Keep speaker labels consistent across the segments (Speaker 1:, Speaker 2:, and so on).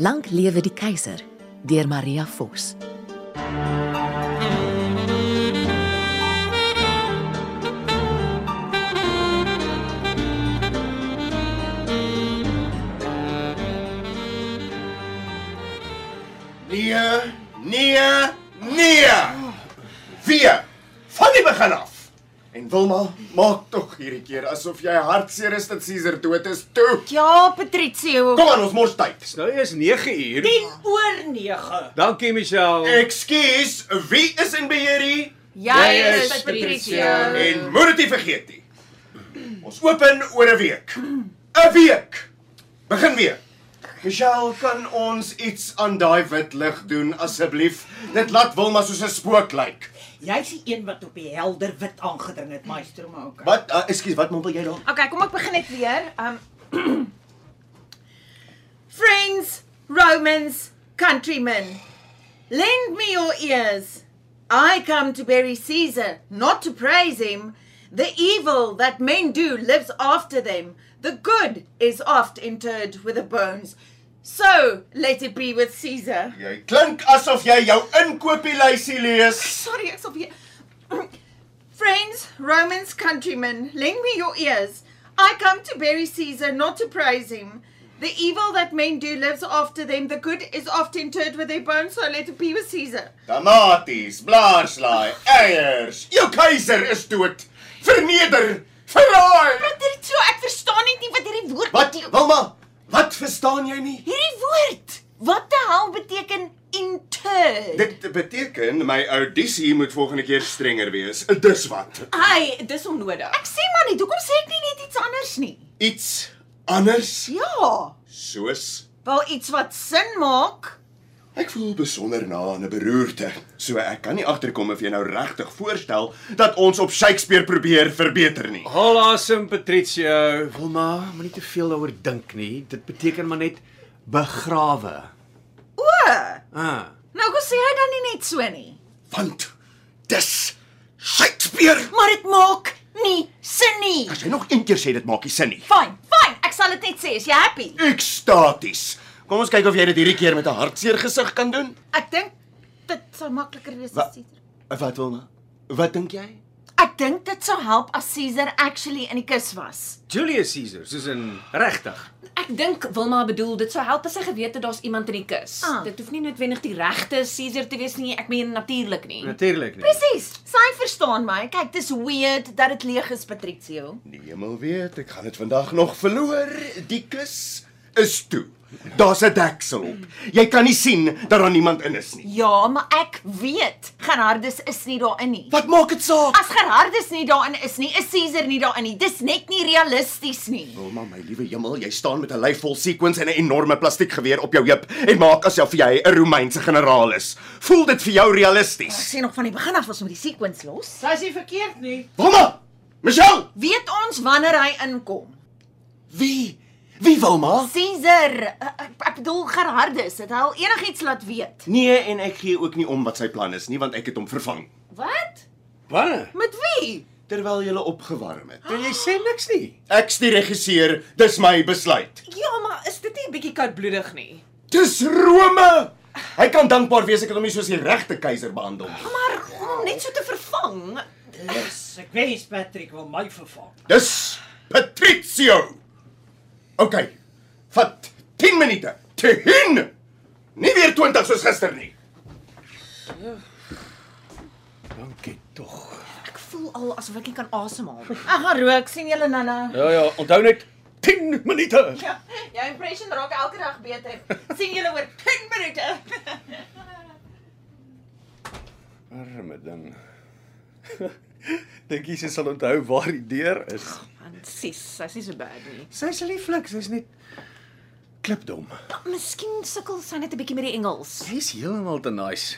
Speaker 1: Lank lewe die keiser deur Maria Vos.
Speaker 2: Nee, nee, nee. Weer van die begin af. En Wilma, maak tog hierdie keer asof jy hartseer is dat Caesar dood is. Toe.
Speaker 3: Ja, Patricio.
Speaker 2: Kom aan, ons mors tyd.
Speaker 4: Nou is 9 uur.
Speaker 5: Nee,
Speaker 3: 10 oor 9.
Speaker 4: Dankie Michelle.
Speaker 2: Ekskuus, wie is in beheer hier?
Speaker 3: Jy,
Speaker 4: is
Speaker 3: is Patricio.
Speaker 2: En moet dit nie vergeet nie. Ons open oor 'n week. 'n Week. Begin weer. Michelle, kan ons iets aan daai wit lig doen asseblief? Dit laat Wilma soos 'n spook lyk.
Speaker 5: Jy's die een wat op die helder wit aangedring het, meester Mouka.
Speaker 2: Wat? Uh, Ekskuus, wat mompel jy daar?
Speaker 3: Okay, kom ek begin net weer. Um Friends, Romans, countrymen, lend me your ears. I come to bury Caesar, not to praise him. The evil that men do lives after them. The good is oft interred with the bones. So let it be with Caesar.
Speaker 2: Jy klink asof jy jou inkopieslysie lees.
Speaker 3: Sorry, ek's op hier. Friends, Romans, countrymen, lend me your ears. I come to bury Caesar, not to praise him. The evil that men do lives after them. The good is oft interred with their bones, so let it be with Caesar.
Speaker 2: Tomaties, blaarslaai, eiers. Jou keiser is dood. Verneder, verraai.
Speaker 3: Patricio, ek verstaan net nie wat hierdie woord
Speaker 2: Wat, Wilma? Wat verstaan jy nie?
Speaker 3: Hierdie woord. Wat die hel beteken interred?
Speaker 2: Dit beteken my audisie moet volgende keer strenger wees. Dis wat.
Speaker 3: Ai, dis onnodig. Ek sê maar net, hoekom sê ek nie net iets anders nie?
Speaker 2: Iets anders
Speaker 3: Ja,
Speaker 2: soos
Speaker 3: wel iets wat sin maak.
Speaker 2: Ek voel besonder na aan 'n beroerte. So ek kan nie agterkom of jy nou regtig voorstel dat ons op Shakespeare probeer verbeter nie.
Speaker 4: Hol asem Patricio. Wilma, moenie te veel daaroor dink nie. Dit beteken maar net begrawe.
Speaker 3: O,
Speaker 4: Ah.
Speaker 3: Nou kom sê hy dan nie net so nie.
Speaker 2: Want dis Shakespeare.
Speaker 3: Maar dit maak nie sin nie.
Speaker 2: As jy nog een keer sê dit maak nie sin nie.
Speaker 3: Fyn, fyn, ek sal dit net sê, is jy happy?
Speaker 2: ekstaties. Kom ons kyk of jy dit hierdie keer met 'n hartseer gesig kan doen.
Speaker 3: Ek dink dit sou makliker wees
Speaker 2: Wa-
Speaker 3: as Caesar.
Speaker 2: Wat wil nou? Wat dink jy?
Speaker 3: Ek dink dit sou help as Caesar actually in die kus was.
Speaker 4: Julius Caesar, soos in regtig.
Speaker 6: Ek dink Wilma bedoel dit sou help as sy geweet het daar's iemand in die kus.
Speaker 3: Ah.
Speaker 6: Dit hoef nie noodwendig die regte Caesar te wees nie. Ek meen natuurlik nie.
Speaker 4: Natuurlik nie.
Speaker 3: Presies. Sy verstaan my. Kyk, dis weird dat dit leeg is, Patricio.
Speaker 2: Nee, hemel weet, ek gaan dit vandag nog verloor. Die kus is toe. Daar's 'n deksel op. Jy kan nie sien dat daar niemand in is nie.
Speaker 3: Ja, maar ek weet Gerardus is nie daarin nie.
Speaker 2: Wat maak dit saak?
Speaker 3: As Gerardus nie daarin is nie, is Caesar nie daarin nie. Dis net nie realisties nie.
Speaker 2: Wilma, my liewe hemel, jy staan met 'n lyf vol sequins en 'n enorme plastiekgeweer op jou heup en maak asof jy 'n Romeinse generaal is. Voel dit vir jou
Speaker 3: Ek
Speaker 2: realisties?
Speaker 3: sê nog van die begin af ons moet die sequence los.
Speaker 5: Sy's nie verkeerd nie.
Speaker 2: Wilma! Michelle!
Speaker 3: Weet ons wanneer hy inkom?
Speaker 2: Wie? Wie Wilma?
Speaker 3: Caesar, eh, ek, ek bedoel Gerardus, het hy al enigiets laat weet?
Speaker 2: Nee, en ek gee ook nie om wat sy plan is nie, want ek het hom vervang
Speaker 3: Wat?
Speaker 4: Wanneer?
Speaker 3: Met wie?
Speaker 2: terwyl jy opgewarm het.
Speaker 4: Wil jy sê niks nie?
Speaker 2: Ek's die regisseur, dis my besluit.
Speaker 6: Ja, maar is dit nie 'n bietjie koudbloedig nie?
Speaker 2: Dis Rome. Hy kan dankbaar wees ek het hom nie soos die regte keiser behandel nie.
Speaker 6: Maar om hom net so te vervang.
Speaker 5: Dis ek wens Patrick wil my vervang.
Speaker 2: Dis Patricio. OK. Vat 10 minute. Te hin. Nie weer 20 soos gister nie.
Speaker 4: Dankie tog.
Speaker 6: Ek voel al asof ek nie kan asemhaal nie.
Speaker 3: Ek gaan rook, sien julle nou nou-nou.
Speaker 4: Ja ja, onthou net 10 minute.
Speaker 3: Ja, jou impression raak elke dag beter. sien julle oor 10 minute.
Speaker 4: Arme ding. Dink jy sy sal onthou waar die deur is?
Speaker 6: Man, sis, sy's nie so bad nie.
Speaker 4: Sy's lieflik, sy's net klipdom.
Speaker 6: Miskien sukkel sy net 'n bietjie met die Engels.
Speaker 4: Hy's heeltemal te nice.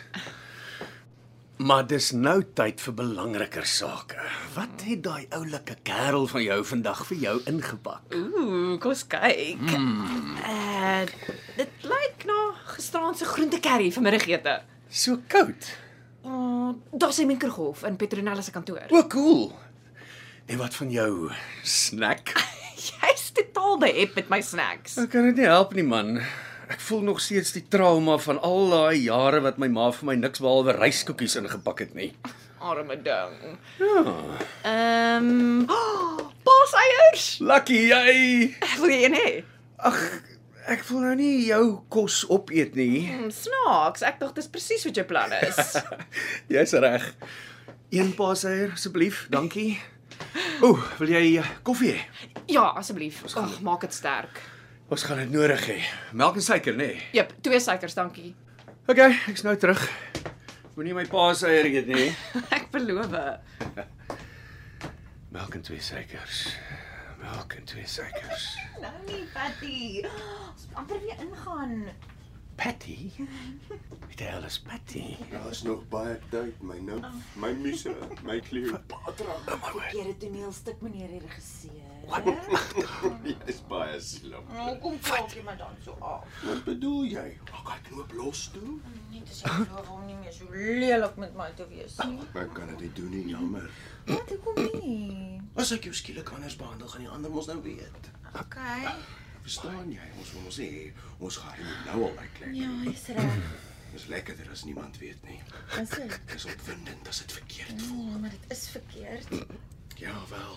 Speaker 4: Maar dis nou tyd vir belangriker sake. Wat het daai oulike kerel van jou vandag vir jou ingepak?
Speaker 6: Ooh, Hmm, kom ons kyk. Uh, dit lyk na gisteraand se groentekerry vir middagete.
Speaker 4: So koud.
Speaker 6: Oh, daar's 'n minkergolf in Petronella se kantoor.
Speaker 4: O, cool. En wat van jou snack?
Speaker 6: Jy's totaal behep met my snacks.
Speaker 4: Ek kan dit nie help nie, man. Ek voel nog steeds die trauma van al daai jare wat my ma vir my niks behalwe ryskoekies ingepak het nie.
Speaker 6: Arme ding. Ja. Ehm, um, oh, paaseiers.
Speaker 4: Lucky jy.
Speaker 6: Wil jy een hê?
Speaker 4: Ag, ek wil nou nie jou kos opeet nie.
Speaker 6: Mm, Snaaks, ek dink dis presies wat jou plan is.
Speaker 4: Jy's reg. Een paaseier asseblief, dankie. O, wil jy eh, koffie hê?
Speaker 6: ja, asseblief. Ag, maak dit sterk.
Speaker 4: Ons gaan dit nodig hê. Melk en suiker, nê? Nee.
Speaker 6: Jep, twee suikers, dankie.
Speaker 4: OK, ek's nou terug. Moenie my paaseier eet nie.
Speaker 6: Ek beloof.
Speaker 4: Melk en twee suikers. Melk en twee suikers.
Speaker 5: Nou nie, Patty. Ons moet amper weer ingaan.
Speaker 4: Patty? Wie die hel is Patty?
Speaker 2: Daar's Ja, nog baie tyd, my nou,
Speaker 5: Oh.
Speaker 2: my muse, my kleur.
Speaker 4: Oh my word.
Speaker 5: Keer 'n toneelstuk meneer die regisseur.
Speaker 2: Jy's baie slim.
Speaker 5: Nou kom praat jy maar dan so af.
Speaker 2: Wat bedoel jy? Ek kan knoop los toe.
Speaker 5: Net as jy glo om nou, nie meer so lelik met my te wees nie.
Speaker 2: Ek kan dit nie doen nie, jammer.
Speaker 5: Wat hoekom nie?
Speaker 2: As ek jou skielik anders behandel, gaan die ander mos nou weet.
Speaker 5: Okay.
Speaker 2: Verstaan jy? Ons wil ons sê ons gaan hier nou al uitklek.
Speaker 5: Ja, jy's reg.
Speaker 2: Dis lekkerder as niemand weet nie.
Speaker 5: Dis dit.
Speaker 2: Dis opwindend as dit verkeerd voel.
Speaker 5: Ja, maar dit is verkeerd.
Speaker 2: Ja wel.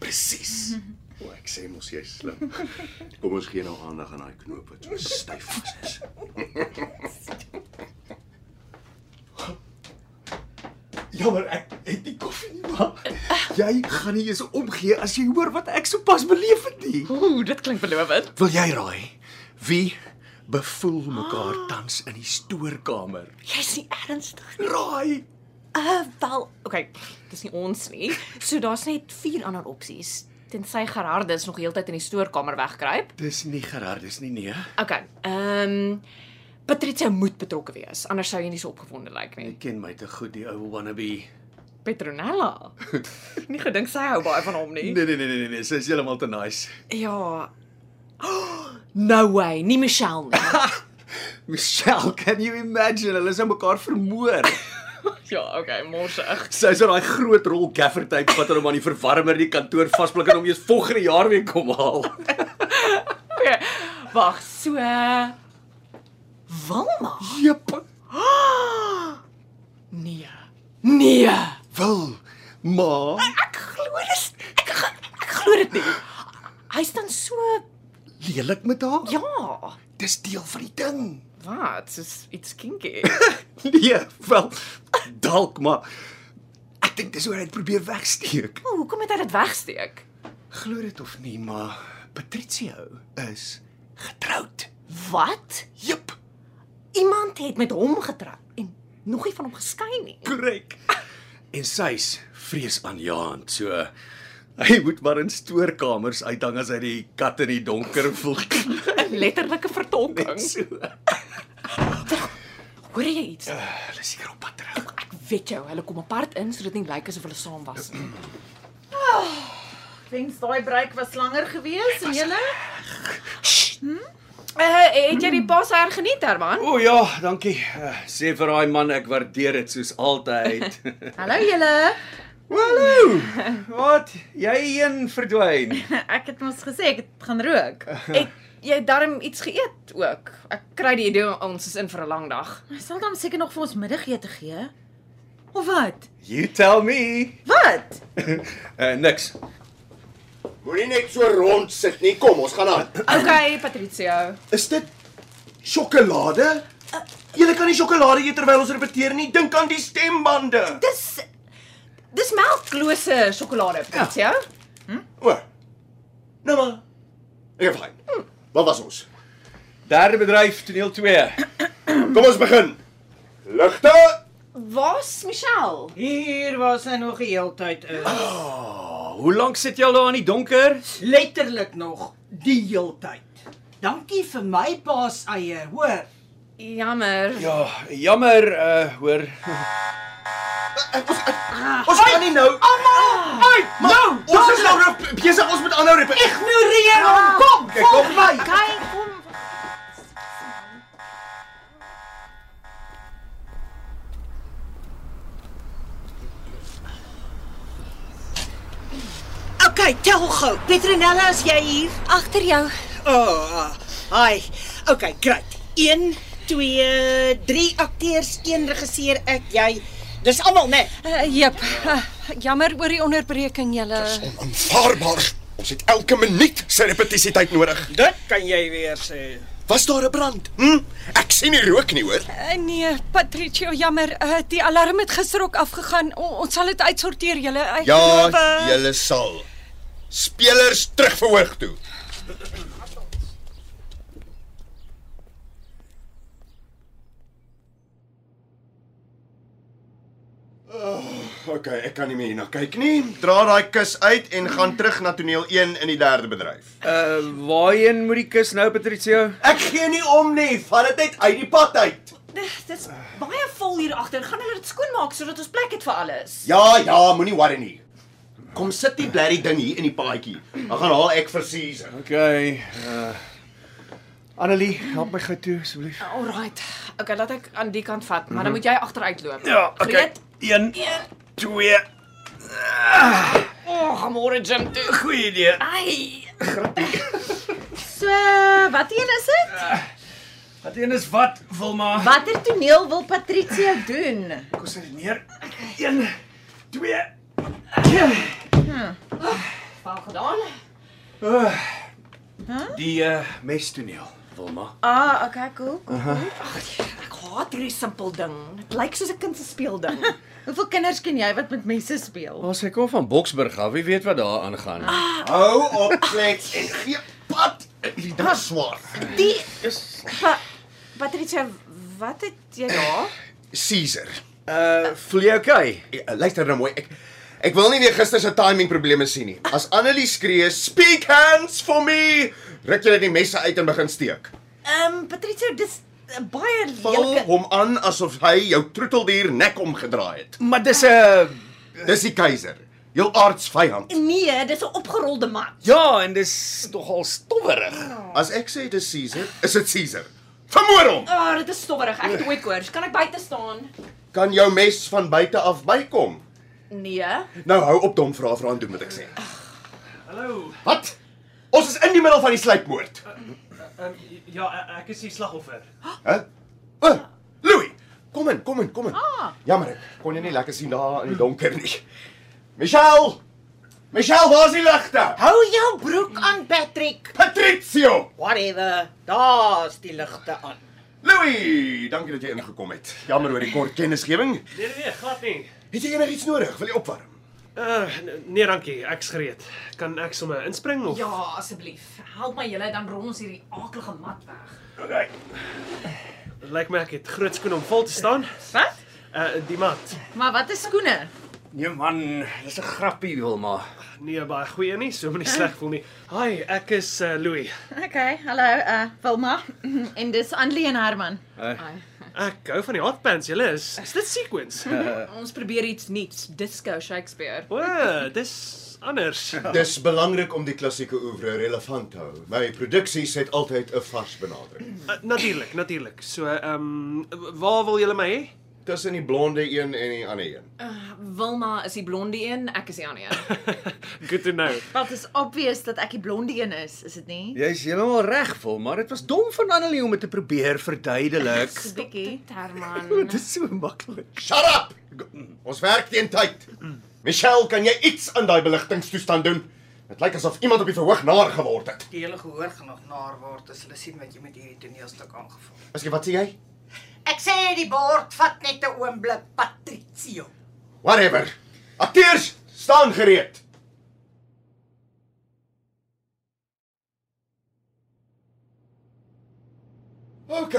Speaker 2: Presies. O, ek sê mos jy's slim. Kom ons gee nou aandag aan daai knoop wat so styf vas is.
Speaker 4: Jammer, ek het nie koffie nie, maar jy gaan nie eens omgee as jy hoor wat ek sopas beleef het nie.
Speaker 6: Ooh, dit klink belovend.
Speaker 4: Wil jy raai? Wie bevoel mekaar tans in die stoorkamer?
Speaker 6: Jy's nie ernstig.
Speaker 4: Raai.
Speaker 6: Uh, wel, okay, dis nie ons nie. So daar's net vier ander opsies. Tensy Gerardus nog heeltyd in die stoorkamer wegkruip.
Speaker 4: Dis nie Gerardus nie, nee.
Speaker 6: Okay. Ehm um, Patricia moet betrokke wees, anders sou jy nie so opgewonde lyk nie.
Speaker 4: Jy ken my te goed, die ou wannabe.
Speaker 6: Petronella. nie gedink sy hou baie van hom nie.
Speaker 4: Nee nee nee nee, nee, sy is heeltemal te nice.
Speaker 6: Ja. No way, nie Michelle nie.
Speaker 4: Michelle, can you imagine? Hulle is nou mekaar vermoor.
Speaker 6: ja, okay, morsig.
Speaker 4: Sy is in daai groot rol gaffer tape wat hulle hom aan die verwarmer in die kantoor vaspluk en hom eers volgende jaar weer kom haal.
Speaker 6: Okay. Wag, so Wilma.
Speaker 4: Jep.
Speaker 6: Nee. Nee.
Speaker 4: Wil maar
Speaker 6: Ek glo dit. Ek ek glo dit nie. Hy staan so
Speaker 4: lelik met haar?
Speaker 6: ja.
Speaker 4: Dis deel van die ding.
Speaker 6: Wat? Dis Ah, iets kinky.
Speaker 4: Nee, wel dalk maar ek dink dis hoe hy dit probeer wegsteek.
Speaker 6: O, hoekom het hy dit wegsteek?
Speaker 4: Glo dit of nie, maar Patricio is getroud.
Speaker 6: Wat?
Speaker 4: Jep,
Speaker 6: Iemand het met hom getroud en nog nie van hom geskei nie.
Speaker 4: korrek. En sy's vreesaanjaend, so hy moet maar in stoorkamers uithang as hy die kat in die donker voel.
Speaker 6: 'n Letterlike vertolking.
Speaker 4: so.
Speaker 6: Nee. Hoor jy iets?
Speaker 4: Hulle is seker op pad terug.
Speaker 6: Ek weet jou, hulle kom apart in sodat dit nie lyk asof hulle saam was nie.
Speaker 3: Ek wens daai breek was langer geweest en julle
Speaker 6: Uh, het jy die pas erg geniet, Herman?
Speaker 4: O ja, dankie. Uh, sê vir daai man ek waardeer dit soos altyd.
Speaker 3: Hallo julle.
Speaker 4: Hallo. Wat? Jy een verdwyn.
Speaker 3: Ek het mos gesê ek het gaan rook.
Speaker 6: Het jy darm iets geëet ook? Ek kry die idee ons is in vir 'n lang dag.
Speaker 3: Hy sal dan seker nog vir ons middagete gee. Of wat?
Speaker 4: You tell me.
Speaker 3: Wat?
Speaker 4: Uh, niks.
Speaker 2: Moenie net so rond sit nie. Kom, ons gaan aan.
Speaker 6: Okay, Patricio.
Speaker 2: Is dit sjokolade? Jy kan nie sjokolade eet terwyl ons repeteer nie. Dink aan die stembande.
Speaker 6: Dis Dis melkglose sjokolade, Patricio. Ja.
Speaker 2: O. Nou maar. Ek gaan. Wat was ons?
Speaker 4: Derde bedryf toneel 2.
Speaker 2: Kom ons begin. Ligte.
Speaker 6: Waar's Michelle?
Speaker 5: Hier was hy nog die hele tyd is.
Speaker 4: Hoe lank sit jy al daar in die donker?
Speaker 5: Letterlik nog die hele tyd. Dankie vir my paas
Speaker 7: Eh,
Speaker 5: eier, hoor.
Speaker 6: Jammer. Ja.
Speaker 4: jammer, uh hoor.
Speaker 2: Ons kan nie nou.
Speaker 5: Almal uit. Nou,
Speaker 2: Ons is nou nou be- besig ons moet aanhou rep. Ah,
Speaker 5: ignoreer hom. Kom.
Speaker 2: Kyk, kom my.
Speaker 5: Kyk kom. Okay, tel gou. Petronella, is jy hier?
Speaker 7: Agter jou.
Speaker 5: Oh, hi. Okay, great. 1 2 3 akteurs, een regisseur, ek, jy. Dis almal, né?
Speaker 7: Uh, jep. Uh, jammer oor die onderbreking julle.
Speaker 2: Aanvaarbaar. Ons het elke minuut se repetisietyd nodig.
Speaker 5: Dit kan jy weer sê.
Speaker 2: Was daar 'n brand? Hm? Ek sien nie rook nie, hoor.
Speaker 7: Uh, nee, Patricio, jammer. Uh, die alarm het gisterok afgegaan. O, ons sal dit uitsorteer julle. Ek
Speaker 2: Ja,
Speaker 7: geloof, eh,
Speaker 2: julle sal. Spelers terug verhoog toe. Okay, Oh, ek kan nie meer hierna kyk nie. Dra daai kus uit en gaan terug na toneel 1 in die derde bedryf.
Speaker 4: Uh waarheen moet die kus nou, Patricio?
Speaker 2: Ek gee nie om nie. Vat dit uit uit die pad uit.
Speaker 6: Dit's baie vol hier agter. Gaan hulle dit skoonmaak sodat ons plek het vir alles?
Speaker 2: Ja, ja, moenie worry nie. Kom sit die blerrie ding hier in die paadjie. Dan gaan haal ek vir Caesar.
Speaker 4: Okay. Uh Annelie, help my gou toe asseblief.
Speaker 6: Alraight. Okay, laat ek aan die kant vat, maar mm -hmm. dan moet jy agteruit loop.
Speaker 8: Ja,
Speaker 6: Gereed?
Speaker 4: 1 2
Speaker 6: O, oh, môre gym toe.
Speaker 4: Goeie idee.
Speaker 6: Ai.
Speaker 3: So, wat een is dit?
Speaker 4: Wat een is wat, Wilma?
Speaker 3: Watter toneel wil Patricia doen?
Speaker 4: Kom sit dit neer. 1 2
Speaker 6: Wel gedaan.
Speaker 4: Eh, Die uh mestoneel, Wilma.
Speaker 3: Ah, okay, cool. cool.
Speaker 6: Ek haat hierdie simpel ding. Dit lyk soos 'n kind se speelding.
Speaker 3: Hoeveel kinders ken jy wat met mense speel?
Speaker 4: Ons ek kom van Boksburg af. Wie weet wat daar aangaan.
Speaker 2: Hou op klets en gee pad. Die ding is swaar.
Speaker 6: Die pa, Patricia, wat het jy daar?
Speaker 2: Caesar.
Speaker 4: Uh voel jy okay?
Speaker 2: Eh, Luister nou mooi. Ek ek wil nie weer gister se timing probleme sien nie. As Annelie skree, "Speak hands for me!" Ruk jy net die messe uit en begin steek.
Speaker 6: Ehm um, Patricia, dis
Speaker 3: eh,
Speaker 6: 'n baie
Speaker 2: Val
Speaker 6: lelike
Speaker 2: hom aan asof hy jou troeteldier nek omgedraai het.
Speaker 4: Maar dis eh, 'n
Speaker 2: Dis die keiser, jou aardsvyand.
Speaker 6: Nee, dis 'n opgerolde mat.
Speaker 4: ja, en dis nogal stowwerig.
Speaker 2: As ek sê dis Caesar, is dit Caesar. Vermoor hom.
Speaker 6: Ah, oh, dit is stowwerig. Ek het ooit koors. Kan ek buite staan?
Speaker 2: Kan jou mes van buite af bykom?
Speaker 6: Nee.
Speaker 2: Nou hou op dom vra vra en doen wat ek sê.
Speaker 8: Hallo.
Speaker 2: Wat? Ons is in die middel van die sluipmoord.
Speaker 8: Um, ja, e- ek is die slagoffer.
Speaker 2: Hæ? O, oh, Louis, kom in, kom in, kom in. Ah. Jammer, ek kon jy nie lekker sien daar in die donker nie. Michelle! Michelle, waar is die ligte?
Speaker 5: Hou jou broek aan, Patrick.
Speaker 2: Patricio!
Speaker 5: Whatever. Daar's die ligte aan.
Speaker 2: Louis, dankie dat jy ingekom het. Jammer oor die kort kennisgewing.
Speaker 8: Nee nee, nee glad nie.
Speaker 2: Het jy enigiets nodig? Wil jy opwarm?
Speaker 8: Uh n- nee, dankie. Ek's gereed. Kan ek sommer inspring of?
Speaker 6: Ja, asseblief. Help my julle dan rol ons hierdie akelige mat weg.
Speaker 2: Okay.
Speaker 8: Lyk my ek het groot skoene om vol te staan.
Speaker 3: Wat?
Speaker 8: Uh die mat.
Speaker 3: Maar wat is skoene?
Speaker 4: Nee man, dis 'n grappie, Wilma.
Speaker 8: Nee, baie goeie nie. So moenie sleg voel nie. Hi, ek is uh, Louis.
Speaker 3: Okay, hallo, uh Wilma en dis Annelie en Herman.
Speaker 8: Ek hou van die hot pants. Julle is is dit sequins?
Speaker 6: Ons probeer iets nuuts. Disco Shakespeare.
Speaker 8: O, dis anders. Eh,
Speaker 2: Dis belangrik om die klassieke oeuvre relevant te hou. My produksies het altyd 'n vars benadering.
Speaker 8: Uh, natuurlik, natuurlik. So, ehm um, waar wil julle my hê?
Speaker 2: Tussen die blonde een en die ander een.
Speaker 6: Wilma is die blondie een, ek is die ander een.
Speaker 8: Good to know.
Speaker 3: Wat is obvious dat ek die blonde een is, is dit nie?
Speaker 4: Jy's heeltemal reg, Wilma. Dit was dom van Annelie om dit te probeer verduidelik.
Speaker 3: Dis 'n bietjie.
Speaker 6: Herman.
Speaker 4: Dit is so maklik.
Speaker 2: Shut up. Ons werk teen tyd. Michelle, kan jy iets aan daai beligtingstoestand doen? Dit lyk asof iemand op die verhoog naar geword het.
Speaker 9: Die hele gehoor gaan nog naar word as hulle sien wat jy met hierdie toneelstuk aangevang het.
Speaker 2: As jy wat sê jy?
Speaker 5: Ek sê die bord vat net 'n oomblik, Patricio.
Speaker 2: Whatever. Akteurs, staan gereed. OK,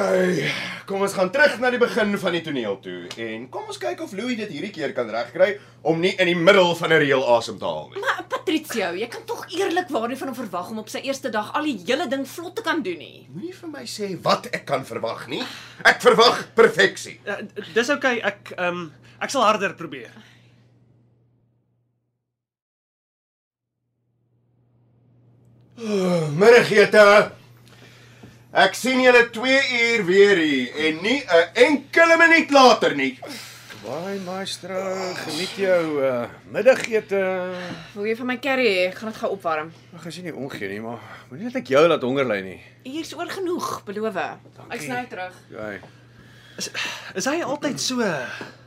Speaker 2: kom ons gaan terug na die begin van die toneel toe en kom ons kyk of Louis dit hierdie keer kan regkry om nie in die middel van 'n reël asem te haal nie.
Speaker 6: Maar Patricio, jy kan tog eerlikwaar nie van hom verwag om op sy eerste dag al die hele ding vlot te kan doen nie.
Speaker 2: Moenie vir my sê wat ek kan verwag nie. Ek verwag perfeksie.
Speaker 8: Uh, dis oukei, okay, ek ehm um, ek sal harder probeer.
Speaker 2: Oh, Middagete. Ek sien julle 2 uur weer hier en nie 'n enkele minuut later nie.
Speaker 4: Baai maestro, geniet jou uh, middagete.
Speaker 6: Wil jy vir my curry hê? Ek Gaan dit gou opwarm.
Speaker 4: Ek gesien nie omgee nie, maar moenie dat ek jou laat honger ly nie.
Speaker 6: Hier's oor genoeg, beloof. Ek sny terug.
Speaker 4: Jy
Speaker 8: Is hy altyd so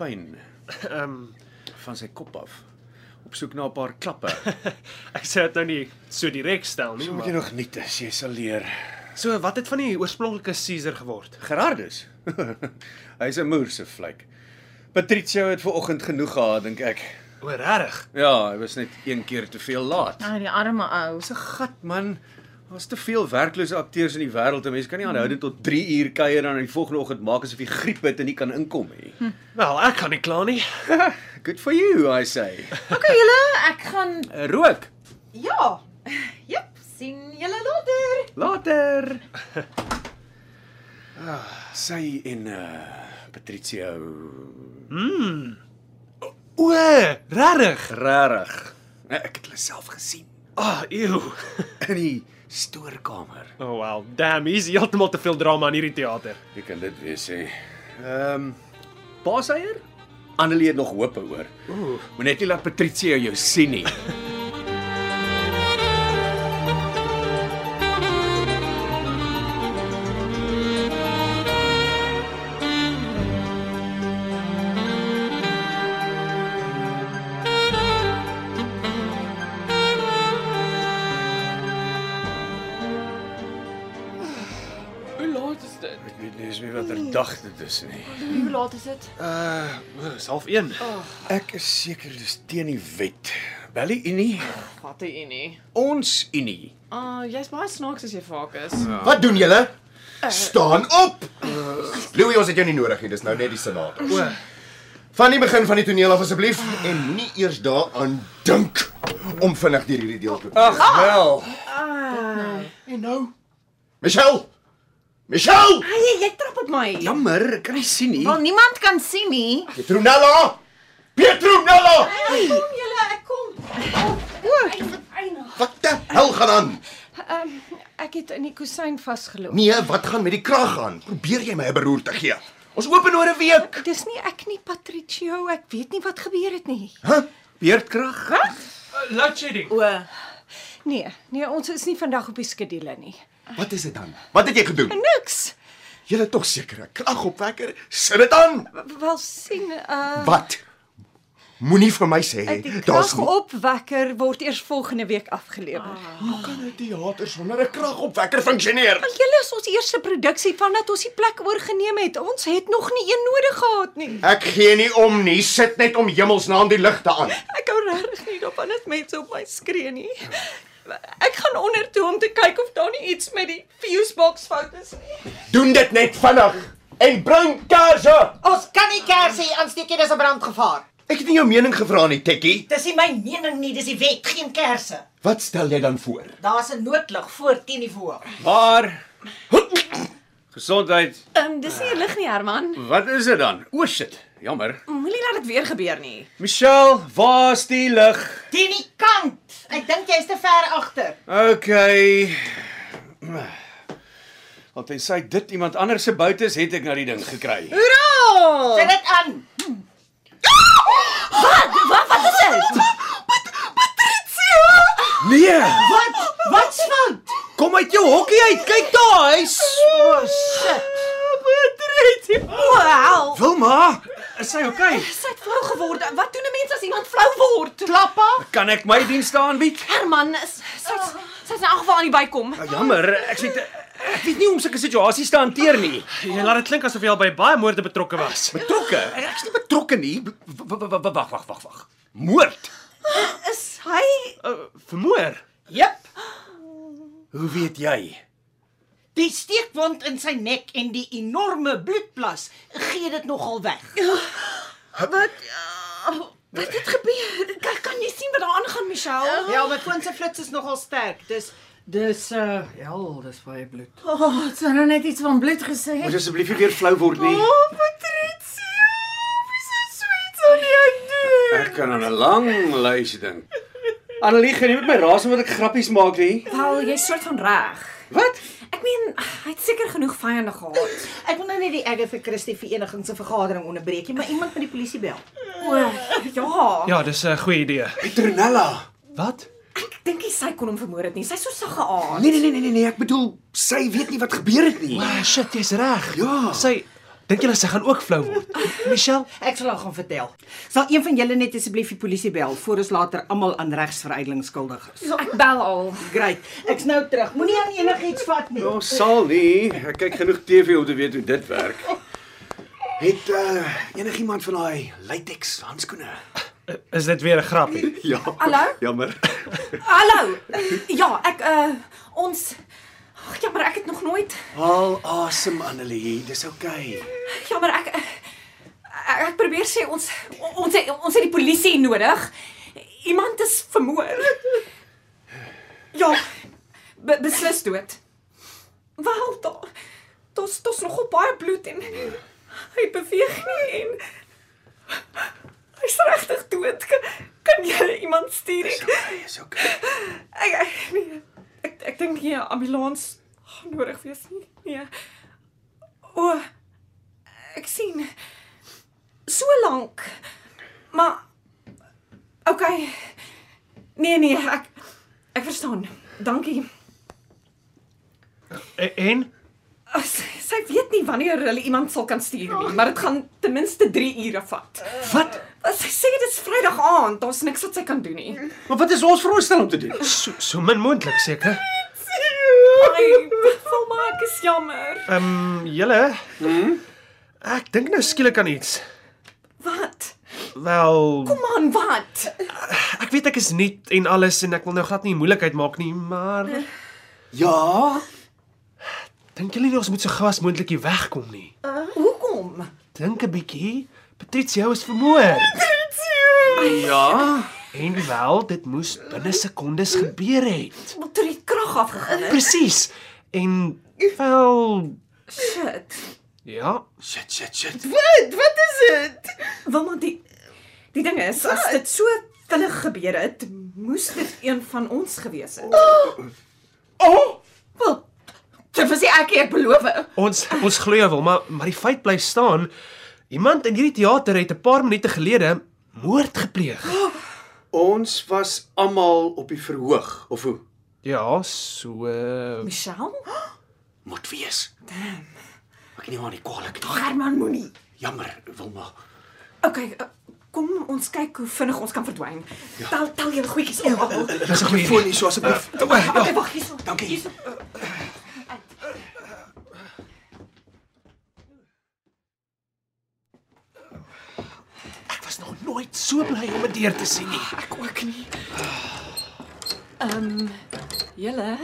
Speaker 4: pyn
Speaker 8: ehm um,
Speaker 4: van sy kop af. Op soek na 'n paar klappe.
Speaker 8: ek sê dit nou nie so direk stel nie,
Speaker 4: So moet jy
Speaker 8: maar
Speaker 4: nog geniet, as jy sal leer.
Speaker 8: so wat het van die oorspronklike Caesar geword?
Speaker 4: Gerardus. Hy's 'n moerse vlek. Patricio het ver oggend genoeg gehad, dink ek.
Speaker 8: O, regtig?
Speaker 4: Ja, hy was net een keer te veel laat.
Speaker 3: Ah,
Speaker 6: Ai, die arme ou.
Speaker 4: Dis 'n gat man. Daar's te veel werklose akteurs in die wêreld. 'n Mens kan nie aanhoudend tot 3 uur kuier en dan die volgende oggend maak asof jy griep het en nie kan inkom nie.
Speaker 3: Hm.
Speaker 8: Wel, ek kan nie kla nie.
Speaker 4: Good for you, I say.
Speaker 3: Okay julle, ek gaan
Speaker 4: Uh, Rook.
Speaker 3: ja. Jep, sien julle later.
Speaker 4: Later. Ah, sy en uh Patricio.
Speaker 8: O, regtig?
Speaker 4: Regtig. Ek het hulle self gesien
Speaker 8: Ah, ew.
Speaker 4: in die stoorkamer.
Speaker 8: Oh wow, damn, hier's heeltemal te veel drama in hierdie teater.
Speaker 4: Wie kan dit wees hè? Ehm um, Paaseier? Annelie het nog hoop oor. Ooh, moet net nie laat Patricia jou sien nie.
Speaker 9: Hoe laat is dit?
Speaker 4: Ek weet nie eens meer watter dag dit is nie.
Speaker 6: Hoe laat is dit?
Speaker 8: Uh, dis half 1.
Speaker 4: Ek is seker dis teen die wet. Belly Unie,
Speaker 6: Gatte u nie.
Speaker 4: ons Unie.
Speaker 6: Ah, uh, jy's baie snaaks as jy vaak is.
Speaker 2: Wat doen julle?
Speaker 6: Eh.
Speaker 2: Staan op. Louis, ons het jou nie nodig nie, dis nou net die senator.
Speaker 8: O,
Speaker 2: Van die begin van die toneel af asseblief en moenie eers daaraan dink om vinnig deur hierdie deel te kom.
Speaker 4: Ag wel.
Speaker 6: Ah.
Speaker 2: En nou, Michelle. Michelle,
Speaker 6: Hey, Ah, jy trap op my.
Speaker 4: Jammer, ek kan nie sien nie.
Speaker 3: Wel niemand kan sien nie.
Speaker 2: Petronella. Petronella,
Speaker 6: Kom julle, ek kom.
Speaker 2: wat die hel gaan aan?
Speaker 7: Ehm um, ek het in die kusyn vasgeloop.
Speaker 2: Nee, wat gaan met die krag aan? Probeer jy my 'n beroer te gee? Ons open oor 'n week.
Speaker 7: Dis nie ek nie, Patricio, ek weet nie wat gebeur het nie.
Speaker 2: Hæ?
Speaker 4: Beerdkrag.
Speaker 8: uh, load shedding.
Speaker 6: O,
Speaker 7: Nee, nee, ons is nie vandag op die skedule nie.
Speaker 2: Wat is dit dan? Wat het jy gedoen?
Speaker 7: Niks.
Speaker 2: Jy het tog seker 'n kragopwekker. Sit dit aan.
Speaker 7: W- Wel sien, uh
Speaker 2: Wat? Moenie vir my sê
Speaker 7: die
Speaker 2: daar's nie-
Speaker 7: kragopwekker word eers volgende week afgelewer. Ah.
Speaker 2: Hoe kan 'n teater sonder 'n kragopwekker funksioneer?
Speaker 7: Julle is ons eerste produksie vandat ons die plek oorgeneem het. Ons het nog nie een nodig gehad nie.
Speaker 2: Ek gee nie om nie. Sit net om hemelsnaam die ligte aan.
Speaker 7: Ek hou regtig nie daarvan as mense op my skree nie. Ek gaan onder toe om te kyk of daar nie iets met die fuse box fout is nie.
Speaker 2: Doen dit net vinnig en bring kaarse.
Speaker 5: Ons kan nie kersie aansteek nie, dis 'n brandgevaar.
Speaker 2: Ek het nie jou mening gevra nie, Tekkie.
Speaker 5: Dis nie my mening nie, dis die wet, geen kersse.
Speaker 2: Wat stel jy dan voor?
Speaker 5: Daar's 'n noodlig voor 10 die voor.
Speaker 4: Maar Gesondheid.
Speaker 6: ehm um, dis nie lig nie, Herman.
Speaker 4: Wat is dit dan? O shit. Jammer.
Speaker 6: Moenie laat dit weer gebeur nie.
Speaker 4: Michelle, waar's die lig?
Speaker 5: 10 die kant. Ek dink jy's te ver agter.
Speaker 4: Okay. Want hy sê dit iemand anders se bout is, het ek na die ding gekry.
Speaker 5: Sit dit aan.
Speaker 6: Wat wat is dit?
Speaker 4: Nee,
Speaker 5: Wat? Wat's fout? Oh,
Speaker 4: kom uit jou hokkie uit. Kyk daar, hy's Oh,
Speaker 6: Wow.
Speaker 4: Wilma.
Speaker 8: Is hy okay?
Speaker 6: Sy't flou geword. Wat doen 'n mens as iemand flou word?
Speaker 5: Klappa?
Speaker 4: Kan ek my dienste aanbied?
Speaker 6: Herman, is- sy't sy't in elk geval aan die bykom.
Speaker 4: Ja, jammer, ek sê ek weet nie hoe om sulke situasies te hanteer nie.
Speaker 8: Jy laat dit klink asof jy al by baie moorde betrokke was.
Speaker 4: Betrokke? Ek's nie betrokke nie. W- w- w- Wag, wag, wag, wag. Moord.
Speaker 6: Is hy
Speaker 8: Uh, vermoor.
Speaker 5: Jep.
Speaker 4: Hoe weet jy?
Speaker 3: Die steekwond in sy nek en die enorme bloedplas gee dit nogal weg.
Speaker 4: Wat
Speaker 10: Wat het gebeur? Kan, kan jy sien wat
Speaker 5: er
Speaker 10: daar aangaan, Michelle?
Speaker 3: Ja, my foon se flits is nogal sterk. Dis dis uh ja, dis baie bloed.
Speaker 4: O, oh, het sy nou net iets van bloed gesê?
Speaker 2: Moet asseblief nie weer flou word nie.
Speaker 4: Oh, Patricia, wie so sweet sal jy doen?
Speaker 2: Ek kan aan 'n lang lys dink.
Speaker 8: Annelie, gaan nie met my raas omdat ek grappies maak nie.
Speaker 5: Wel, jy's soort van reg.
Speaker 8: Wat?
Speaker 5: Ek meen, hy het seker genoeg vyande gehad.
Speaker 3: Ek wil nou net die Agatha Christie vereniging se vergadering onderbreek, jy, maar iemand met die polisie bel.
Speaker 5: O, ja.
Speaker 8: Ja, dis 'n goeie idee.
Speaker 2: Petronella.
Speaker 8: Wat?
Speaker 5: Ek dink nie sy kon hom vermoor het nie. Sy's so sag geaard.
Speaker 2: Nee nee nee nee nee, nee, ek bedoel sy weet nie wat gebeur het nie.
Speaker 8: Ah, shit, jy's reg.
Speaker 2: Ja.
Speaker 8: Sy dink julle sy gaan ook flou word. Michelle,
Speaker 3: Ek sal haar gaan vertel. Sal een van julle net asseblief die polisie bel voor ons later almal aan regsverydeling skuldig is.
Speaker 5: Ja, Ek bel al.
Speaker 3: Great. Ek's nou terug. Moenie aan enigiets vat nie.
Speaker 2: Ons sal nie. Ek kyk genoeg TV om te weet hoe dit werk. Het uh, enigiemand van daai latex handskoene?
Speaker 8: is dit weer 'n grappie?
Speaker 2: Ja.
Speaker 5: Hallo?
Speaker 2: Jammer.
Speaker 5: Hallo. Ja, ek uh ons Ag, jammer, ek het nog nooit
Speaker 2: Haal asem Annelie, dis oukei. Okay.
Speaker 5: Jammer, Ja, ek ek, ek probeer sê ons ons het, ons het die polisie nodig. Iemand is vermoor. Ja, be, beslis dood. Wel, daar daar's daar's nogal baie bloed en hy beweeg nie en hy's regtig dood. Kan, kan jy iemand stuur?
Speaker 2: Dis oukei, okay, dis oukei. Okay.
Speaker 5: Ek ek nee, ek, ek dink nie 'n ambulans gaan nodig wees nie. Nee. O. Ek sien. So lank. Maar okay. Nee nee, ek ek verstaan. Dankie.
Speaker 8: E- En
Speaker 5: O, Sy, sy weet nie wanneer hulle iemand sal kan stuur nie, maar dit gaan ten minste 3 ure vat.
Speaker 8: wat?
Speaker 5: Sy sê dit is Vrydag aand, daar's niks wat sy kan doen nie.
Speaker 2: Maar wat is ons veronderstel om te doen?
Speaker 8: So, so min moontlik seker.
Speaker 5: Ai, val maar ek is jammer.
Speaker 8: Ehm, um, julle? Mhm.
Speaker 5: Hmm?
Speaker 8: Ek dink nou skielik aan iets.
Speaker 5: Wat?
Speaker 8: Wel,
Speaker 5: Kom aan, wat?
Speaker 8: ek weet ek is nuut en alles en ek wil nou glad nie moeilikheid maak nie, maar
Speaker 5: Nee.
Speaker 2: Ja.
Speaker 8: dink julle nie ons moet so gou as moontlik hier wegkom nie?
Speaker 5: Eh, Hoekom?
Speaker 8: Dink 'n bietjie. Patricia is vermoor.
Speaker 2: Ja.
Speaker 8: En wel, dit moes binne sekondes gebeur het.
Speaker 5: Want toe er die krag afgegaan het.
Speaker 8: Presies. En wel,
Speaker 5: Shit.
Speaker 8: ja,
Speaker 2: Shit, shit, shit.
Speaker 4: Wat? Wat is dit?
Speaker 5: Want die die ding is, as dit so vinnig gebeur het, moes dit een van ons gewees het.
Speaker 4: Wel, dit was nie ek nie, ek beloof.
Speaker 8: ons ons glo jou wel, maar maar die feit bly staan. Iemand in hierdie teater het 'n paar minute gelede moord gepleeg.
Speaker 2: Ons was almal op die verhoog of hoe?
Speaker 8: Ja, so eh,
Speaker 5: Michelle?
Speaker 2: Moet wees. Damn. Ek neem aan die kwalik.
Speaker 5: Herman moenie.
Speaker 2: Jammer, Wilma.
Speaker 5: Okay, uh, kom ons kyk hoe vinnig ons kan verdwyn. Ja. Tel tel jou goedjies op. Okay,
Speaker 8: dis 'n goeie
Speaker 2: Foon
Speaker 8: idee.
Speaker 2: hier so asseblief.
Speaker 5: wag hierso.
Speaker 2: Eh, Dankie. Eh,
Speaker 5: Hierso.
Speaker 8: Ek was nog nooit so bly om 'n deur te sien nie.
Speaker 5: Ah, Ek ook nie. Ehm, um, julle,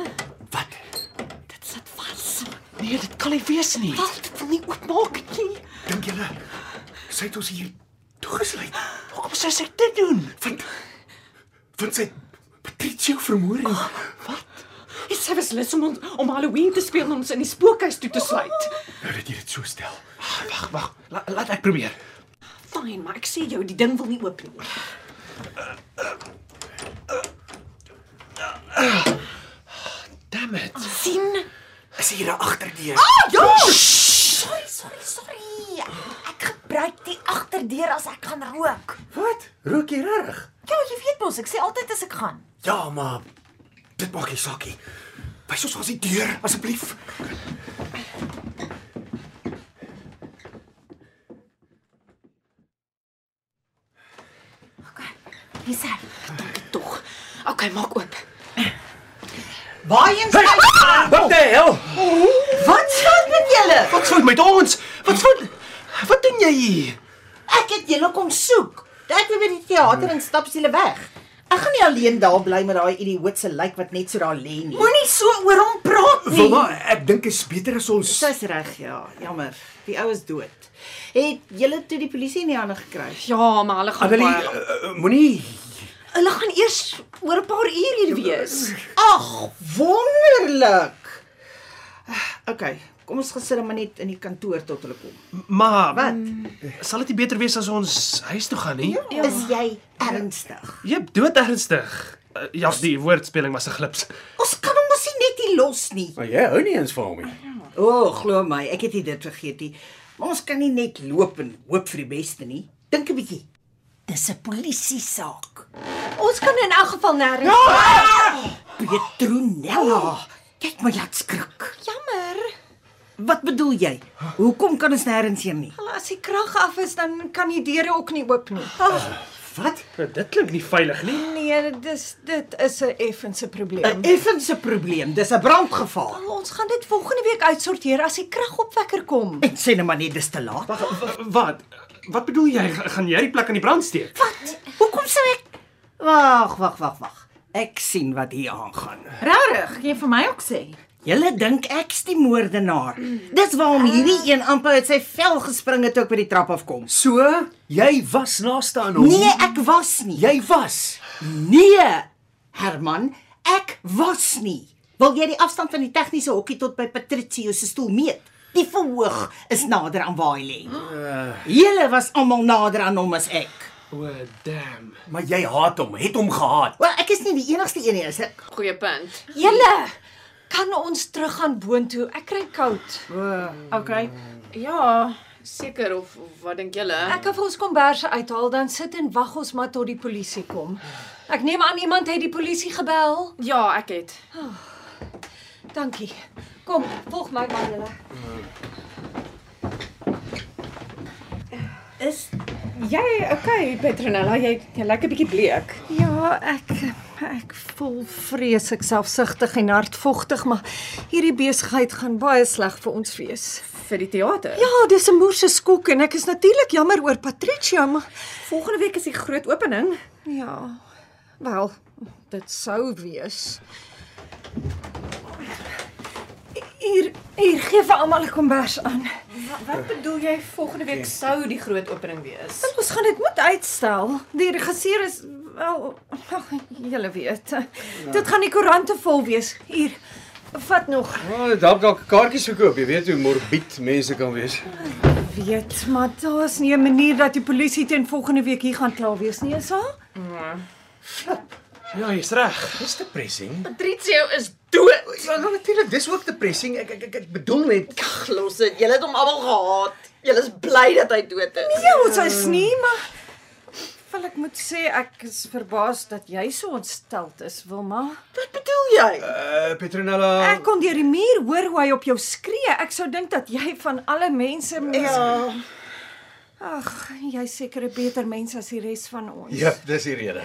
Speaker 2: Wat?
Speaker 5: dit sit vas.
Speaker 8: Nee, dit kan nie wees nie.
Speaker 5: Wel, dit wil nie oopmaak nie.
Speaker 2: Dink julle sy het ons hier toegesluit?
Speaker 8: Hoekom sou sy dit doen?
Speaker 2: Want want sy Patricio vermoor en
Speaker 5: Jy sê beslis om ons om Halloween te speel en ons in die spookhuis toe te sluit.
Speaker 2: nou dat jy dit so stel.
Speaker 8: Ah, Wag, wag. La, laat ek probeer.
Speaker 5: Fyn, maar ek sê jou, die ding wil nie oop nie.
Speaker 8: Damn it.
Speaker 5: sien?
Speaker 2: Is hier 'n agterdeur?
Speaker 11: Sorry, sorry, sorry. Ek gebruik die agterdeur as ek gaan rook.
Speaker 2: Wat? Rook jy reg?
Speaker 11: Ja, jy weet mos, ek sê altyd as ek gaan.
Speaker 2: Ja, maar dit maak nie saak nie. Wys ons ons die deur asseblief.
Speaker 11: Dis hy.
Speaker 5: Tog. Okay, maak oop.
Speaker 3: Waarheen sy?
Speaker 2: Ah,
Speaker 8: Wat die hel?
Speaker 3: Wat staan met julle?
Speaker 8: Wat sou met ons? Wat sou Wat doen jy hier?
Speaker 3: Ek het julle kom soek. Ek wil by die teater en stap julle weg.
Speaker 12: Ek gaan nie alleen daar bly met daai idioot se lyk wat net so daar lê nie.
Speaker 13: Moenie so oor hom praat nie.
Speaker 14: Wilma, ek dink is beter as ons
Speaker 12: Dis reg, ja, jammer. Die ou is dood. Het julle toe die polisie nie aan gekry?
Speaker 5: Ja, maar hulle gaan
Speaker 14: Annelie
Speaker 5: baie-
Speaker 14: uh, uh, moenie
Speaker 5: Hulle gaan eers oor 'n paar uur hier wees.
Speaker 12: Ag, wonderlik. Okay, kom ons gaan sit dan maar net in die kantoor tot hulle kom.
Speaker 5: Ehm.
Speaker 8: Maar
Speaker 12: Wat?
Speaker 8: sal dit nie beter wees as ons huis toe gaan nie?
Speaker 5: Ja.
Speaker 12: Is jy ernstig?
Speaker 8: Jep, dood ernstig. Uh, ja, die woordspeling was 'n glips.
Speaker 12: Ons kan hom mos nie net hier los nie.
Speaker 14: Maar jy hou nie eens van hom nie.
Speaker 12: O, oh, glo my, ek het nie dit vergeet nie. Maar ons kan nie net loop en hoop vir die beste nie. Dink 'n bietjie. Dis 'n polisie saak.
Speaker 5: Ons kan in elk geval nêrens.
Speaker 12: Ja!
Speaker 5: Oh.
Speaker 12: Petronella, kyk my laat skrik.
Speaker 5: Jammer.
Speaker 12: Wat bedoel jy? Hoekom kan ons nêrens heen nie?
Speaker 5: Wel, As die krag af is, dan kan die deure ook nie oop nie. Ag,
Speaker 12: Wat?
Speaker 8: Nou, dit klink nie veilig nie.
Speaker 5: nee, dis dit is 'n effense probleem. Oh,
Speaker 12: 'n Effense probleem. Dis 'n brandgeval.
Speaker 5: Ons gaan dit volgende week uitsorteer as die kragopwekker kom.
Speaker 12: Ek sê net maar net dis te laat.
Speaker 8: Wag, wa- wat? Wat bedoel jy? Ga- Gaan jy die plek aan die brand steek?
Speaker 12: Hoekom sou ek Wag, wag, wag, wag. Ek sien wat hier aangaan.
Speaker 13: Regtig, jy vir my ook sê.
Speaker 12: Julle dink ek's die moordenaar. Dis waarom hierdie een amper uit sy vel gespring het toe ek by die trap afkom.
Speaker 14: So, jy was naaste aan hom.
Speaker 12: Nee, ek was nie.
Speaker 14: jy was.
Speaker 12: Nee, Herman, ek was nie. Wil jy die afstand van die tegniese hokkie tot by Patricio se stoel meet? Die verhoog is nader aan waar hy lê. Julle was almal nader aan hom as ek.
Speaker 8: O, oh, damn.
Speaker 14: Maar jy haat hom, het hom gehaat.
Speaker 12: Wel, ek is nie die enigste een nie, is ek?
Speaker 6: Goeie punt.
Speaker 5: Julle kan ons teruggaan boontoe. Ek kry koud.
Speaker 12: Okay.
Speaker 6: Ja, seker of, of wat dink julle?
Speaker 5: Ek kan vir ons komberse uithaal, dan sit en wag ons maar tot die polisie kom. Ek neem aan iemand het die polisie gebel.
Speaker 6: Ja, ek het.
Speaker 5: Dankie. Kom, volg my man hulle.
Speaker 6: Is jy okay, Petronella? Jy jy lyk 'n bietjie bleek.
Speaker 5: Ja, ek ek voel vreeslik selfsugtig en hartvogtig, maar hierdie besigheid gaan baie sleg vir ons wees.
Speaker 6: Vir die teater.
Speaker 5: Ja, dis 'n moerse skok en ek is natuurlik jammer oor Patricia, maar
Speaker 6: Volgende week is die groot opening.
Speaker 5: ja. Wel, dit sou wees. Hier, hier gee vir almal 'n kombers aan.
Speaker 6: Wat bedoel jy volgende week sou die groot opening wees?
Speaker 5: Ons gaan dit moet uitstel. Die regisseur is wel ag, julle weet. Dit gaan die koerante vol wees. Hier. Vat nog.
Speaker 2: Ja, dalk dalk kaartjies verkoop, jy weet hoe morbied mense kan wees.
Speaker 5: Weet, maar daar is nie 'n manier dat die polisie teen volgende week hier gaan klaar wees nie, is daar?
Speaker 8: Ja, jy's reg.
Speaker 2: Dis depressing.
Speaker 6: Patricio is dood.
Speaker 2: Ja, nou natuurlik, dis ook depressing. Ek ek ek, ek bedoel net
Speaker 3: Ag, los dit. Julle het hom almal gehaat. Julle is bly dat hy dood is.
Speaker 5: Nee, ons is nie, maar wil ek moet sê ek is verbaas dat jy so ontsteld is, Wilma.
Speaker 3: Wat bedoel jy?
Speaker 2: uh, Petronella.
Speaker 5: Ek kon deur die muur hoor hoe hy op jou skree. Ek sou dink dat jy van alle mense Ja. Ag, jy is seker 'n beter mens as die res van ons.
Speaker 2: Ja, dis die rede.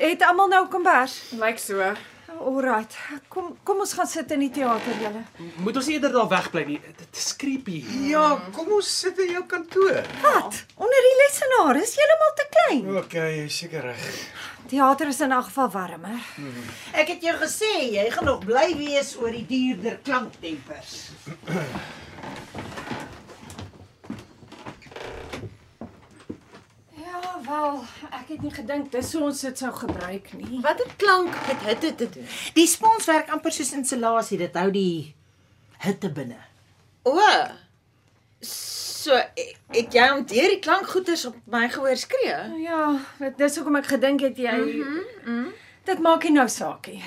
Speaker 5: Het almal nou kombers?
Speaker 6: Lyk so.
Speaker 5: Alraight. Kom kom ons gaan sit in die teater julle.
Speaker 8: Moet ons nie eerder daar wegbly nie. Dit is creepy.
Speaker 2: Ja, kom ons sit in jou kantoor.
Speaker 5: Wat? Onder die lesenaar is heeltemal te klein.
Speaker 2: OK, jy's seker reg.
Speaker 5: Teater is in 'n geval warmer.
Speaker 12: Ek het jou gesê jy gaan nog bly wees oor die duurder klankdempers.
Speaker 5: Ja, wel, ek het nie gedink dis hoe ons dit sou gebruik nie.
Speaker 3: Watter klank het dit te doen?
Speaker 12: Die spons werk amper soos insulasie, dit hou die hitte binne.
Speaker 3: O. So e- het jy om deur die klankgoeters op my gehoor skree?
Speaker 5: Ja, dit- dis hoekom ek gedink het jy mm -hmm,
Speaker 3: Mhm,
Speaker 5: mm. Dit maak nie nou saak nie.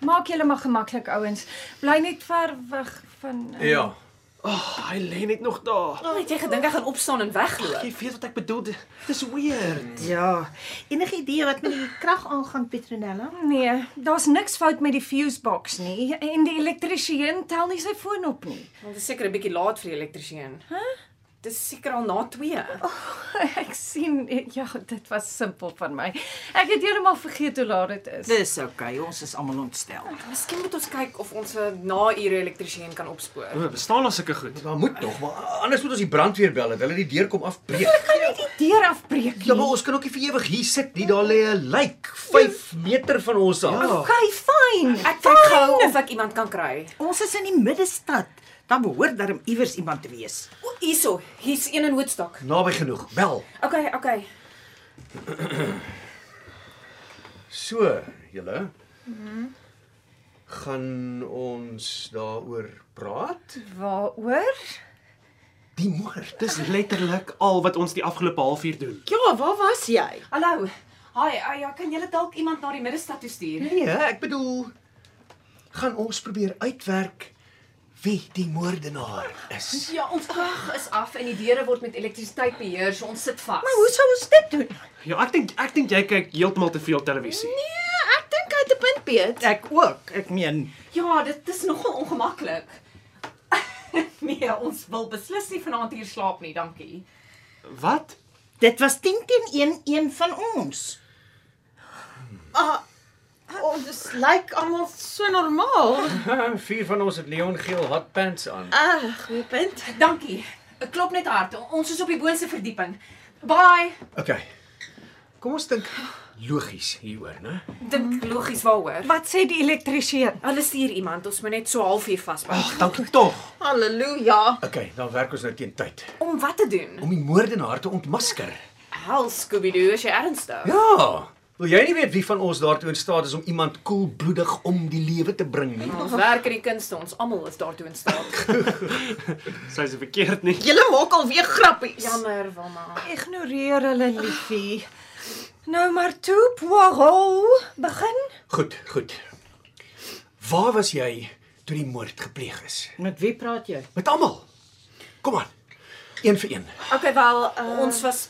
Speaker 5: Maak julle maar gemaklik ouens. Bly net ver weg van eh,
Speaker 2: Ja.
Speaker 8: Oh, hy lê net nog daar.
Speaker 6: Al het jy gedink hy gaan opstaan en wegloop.
Speaker 8: Jy weet wat ek bedoel. Dit is weird.
Speaker 12: Ja. Enige idee wat met die krag aangaan, Petronella?
Speaker 5: Nee, daar's niks fout met die fuse box nie en die elektriesien tel nie sy foon op nie.
Speaker 6: Want dit is seker 'n bietjie laat vir die elektriesien. Hæ? Huh? Dis seker al na 2.
Speaker 5: Ek sien ja, dit was simpel van my. Ek het heeltemal vergeet hoe laat dit is.
Speaker 15: Dis oukei, okay, ons is almal ontstel.
Speaker 6: Miskien moet ons kyk of ons 'n na-ure elektriesien kan opspoor.
Speaker 8: O, Nou, bestaan daar sulke goed?
Speaker 2: Daar moet tog, maar anders moet ons die brandweer bel dat hulle die deur kom afbreek.
Speaker 6: Kan nie die deur afbreek nie.
Speaker 2: Ja, maar ons kan ook nie vir ewig hier sit nie. Daar lê 'n lijk 5 meter van ons af.
Speaker 6: Okay, fyn. Ek kyk gou of ek iemand kan kry.
Speaker 15: Ons is in die middestad. Dan behoort daar iewers iemand te wees.
Speaker 6: O, hierso. Hier's een in Woodstock.
Speaker 2: Naby genoeg. Bel.
Speaker 6: Okay, okay.
Speaker 2: So, julle gaan ons daaroor praat?
Speaker 5: Waaroor?
Speaker 2: Die moord.
Speaker 8: Dis letterlik al wat ons die afgelope halfuur doen.
Speaker 3: Ja, waar was jy?
Speaker 6: Hallo. Hi, ah, ja, kan julle dalk iemand na die middestad toe stuur?
Speaker 2: Nee, ek bedoel gaan ons probeer uitwerk wie die moordenaar is.
Speaker 6: Ja, ons krag is af en die deure word met elektrisiteit beheer, so ons sit vas.
Speaker 3: Hoe sou ons dit doen?
Speaker 8: Ja, ek dink ek dink jy kyk heeltemal te veel televisie.
Speaker 3: Nee, ek dink hy het 'n punt, Piet.
Speaker 15: Ek ook. Ek meen,
Speaker 6: Ja, dit is nogal ongemaklik. nee, ons wil beslis nie vanaand hier slaap nie, dankie.
Speaker 8: Wat?
Speaker 15: dit was 10 teen 1 een van ons.
Speaker 6: Ah,
Speaker 3: Ons Oh, lyk almal so normaal.
Speaker 2: Vier van ons het Leon geel hotpants aan.
Speaker 3: Ah, goeie punt.
Speaker 6: Dankie. Ek klop net hard. Ons is op die boonste verdieping. Bye.
Speaker 2: Okay. Kom ons dink logies hieroor, né?
Speaker 6: Dink
Speaker 3: Mm.
Speaker 6: logies waaroor.
Speaker 5: Wat sê die elektriesien?
Speaker 6: Hulle stuur iemand, ons moet net so halfuur vasmaak.
Speaker 2: Ag, dankie tog.
Speaker 3: Halleluja.
Speaker 2: Okay, dan werk ons nou teen tyd
Speaker 6: Om wat te doen?
Speaker 2: om die moordenaar te ontmasker.
Speaker 6: Hel Scooby-Doo, is jy ernstig?
Speaker 2: Ja. Wil jy nie weet wie van ons daartoe in staat is om iemand koelbloedig om die lewe te bring nie?
Speaker 6: Ons werk in die kunste, ons almal is daartoe in staat.
Speaker 8: Sy's verkeerd nie.
Speaker 3: Julle maak alweer grappies.
Speaker 6: Jammer, Wilma.
Speaker 5: Ignoreer hulle, liefie. Nou maar toe, Poirot, begin.
Speaker 2: Goed, goed. Waar was jy toe die moord gepleeg is?
Speaker 15: Met wie praat jy?
Speaker 2: Met almal. Kom aan. Een vir een.
Speaker 6: Okay, wel, uh, ons was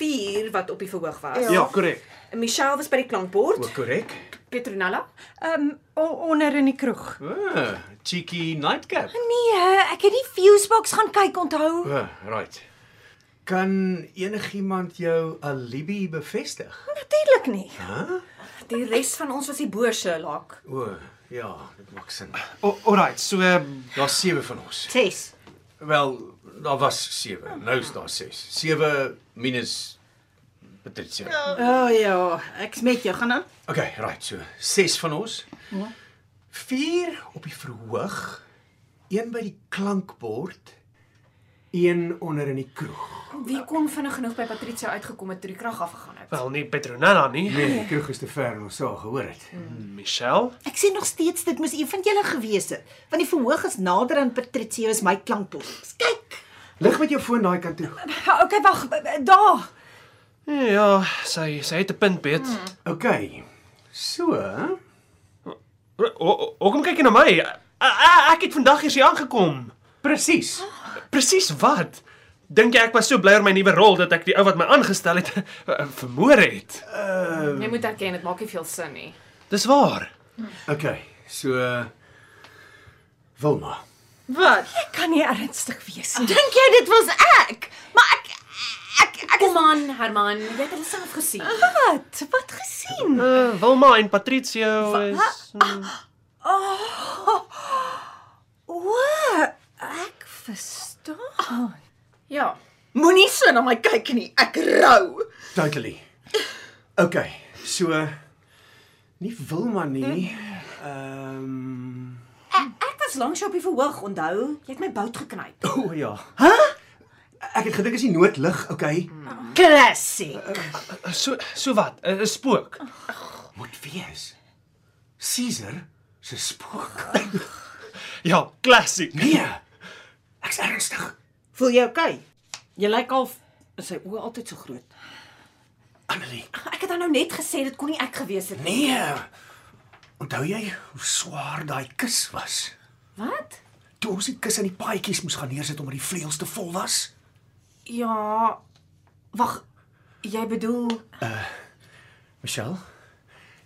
Speaker 6: 4 wat op die verhoog was.
Speaker 8: Ja, korrek.
Speaker 6: Michelle was by die klankbord,
Speaker 2: Ook korrek.
Speaker 6: Petronella.
Speaker 5: Ehm um, onder in die kroeg.
Speaker 2: Ah, cheeky nightcap.
Speaker 5: Nee, ek het die fusebox gaan kyk, onthou.
Speaker 2: O, right. Kan enigiemand jou alibi bevestig?
Speaker 5: Natuurlik nie.
Speaker 6: Die res van ons was die bo Sherlock.
Speaker 2: O, ja, dit maak sin.
Speaker 8: O- Alrite, so ehm,
Speaker 2: Daar's sewe van ons.
Speaker 15: 6.
Speaker 2: Wel, daar was sewe. Nou is daar ses. Sewe minus Patricia.
Speaker 15: O oh, ja, ek smet jou gaan nou. aan.
Speaker 2: Okay, right, so ses van ons. Vier op die verhoog, een by die klankbord, een onder in die kroeg.
Speaker 6: Wie kon vinnig genoeg by Patricia uitgekom het toe die krag afgegaan het?
Speaker 8: wel nie Petronella nie.
Speaker 2: Nee, die kroeg is te ver en ons sal gehoor het.
Speaker 8: Michelle,
Speaker 15: Ek sê nog steeds dit moes een van julle gewees het, want die verhoog is nader aan Patricia as my klankbord. Kyk,
Speaker 2: Lig met jou foon daai kant toe.
Speaker 5: Okay, wag, b- b- daar.
Speaker 8: ja, sy sy het 'n punt, Piet.
Speaker 2: Okay. So,
Speaker 8: Hoekom kyk jy na my? A- a- Ek het vandag eers hier aangekom.
Speaker 2: presies.
Speaker 8: Presies wat? Dink jy ek was so bly oor my nuwe rol dat ek die ou wat my aangestel het eh, vermoor het?
Speaker 6: Jy moet erken, dit maak nie veel sin nie.
Speaker 8: Dis waar.
Speaker 2: Okay. So Wilma.
Speaker 3: Wat?
Speaker 5: Ek kan nie ernstig wees nie.
Speaker 3: Dink jy dit was ek? Maar ek ek ek is
Speaker 6: Kom aan, Herman, jy het hulle self gesien.
Speaker 5: Wat? Wat gesien?
Speaker 8: Uh, Wilma en Patricio is
Speaker 5: O, ek verstaan.
Speaker 6: Ja.
Speaker 3: moenie so na my kyk nie. Ek rou.
Speaker 2: Totally. Okay. So nie Wilma nie. Ehm um,
Speaker 6: Ek was langs jou op die verhoog, onthou? Jy het my bout geknyp.
Speaker 2: O oh, ja. Hæ? Ek het gedink is die noodlig, okay.
Speaker 15: klassiek.
Speaker 8: so so wat? 'n uh, Spook.
Speaker 2: Moet wees. Caesar se spook.
Speaker 8: Ja, klassiek.
Speaker 2: Nee. Ek's ernstig.
Speaker 15: Voel jy oukei? Okay? Jy lyk al is sy oë altyd so groot.
Speaker 2: Annelie.
Speaker 6: Ek het dan nou net gesê dit kon nie ek gewees het nie.
Speaker 2: Nee. Onthou jy hoe swaar daai kus was?
Speaker 6: Wat?
Speaker 2: Toe ons die kus aan die paadjies moes gaan neersit omdat die vleuels te vol was?
Speaker 6: Ja. Wag. Jy bedoel,
Speaker 2: Michelle,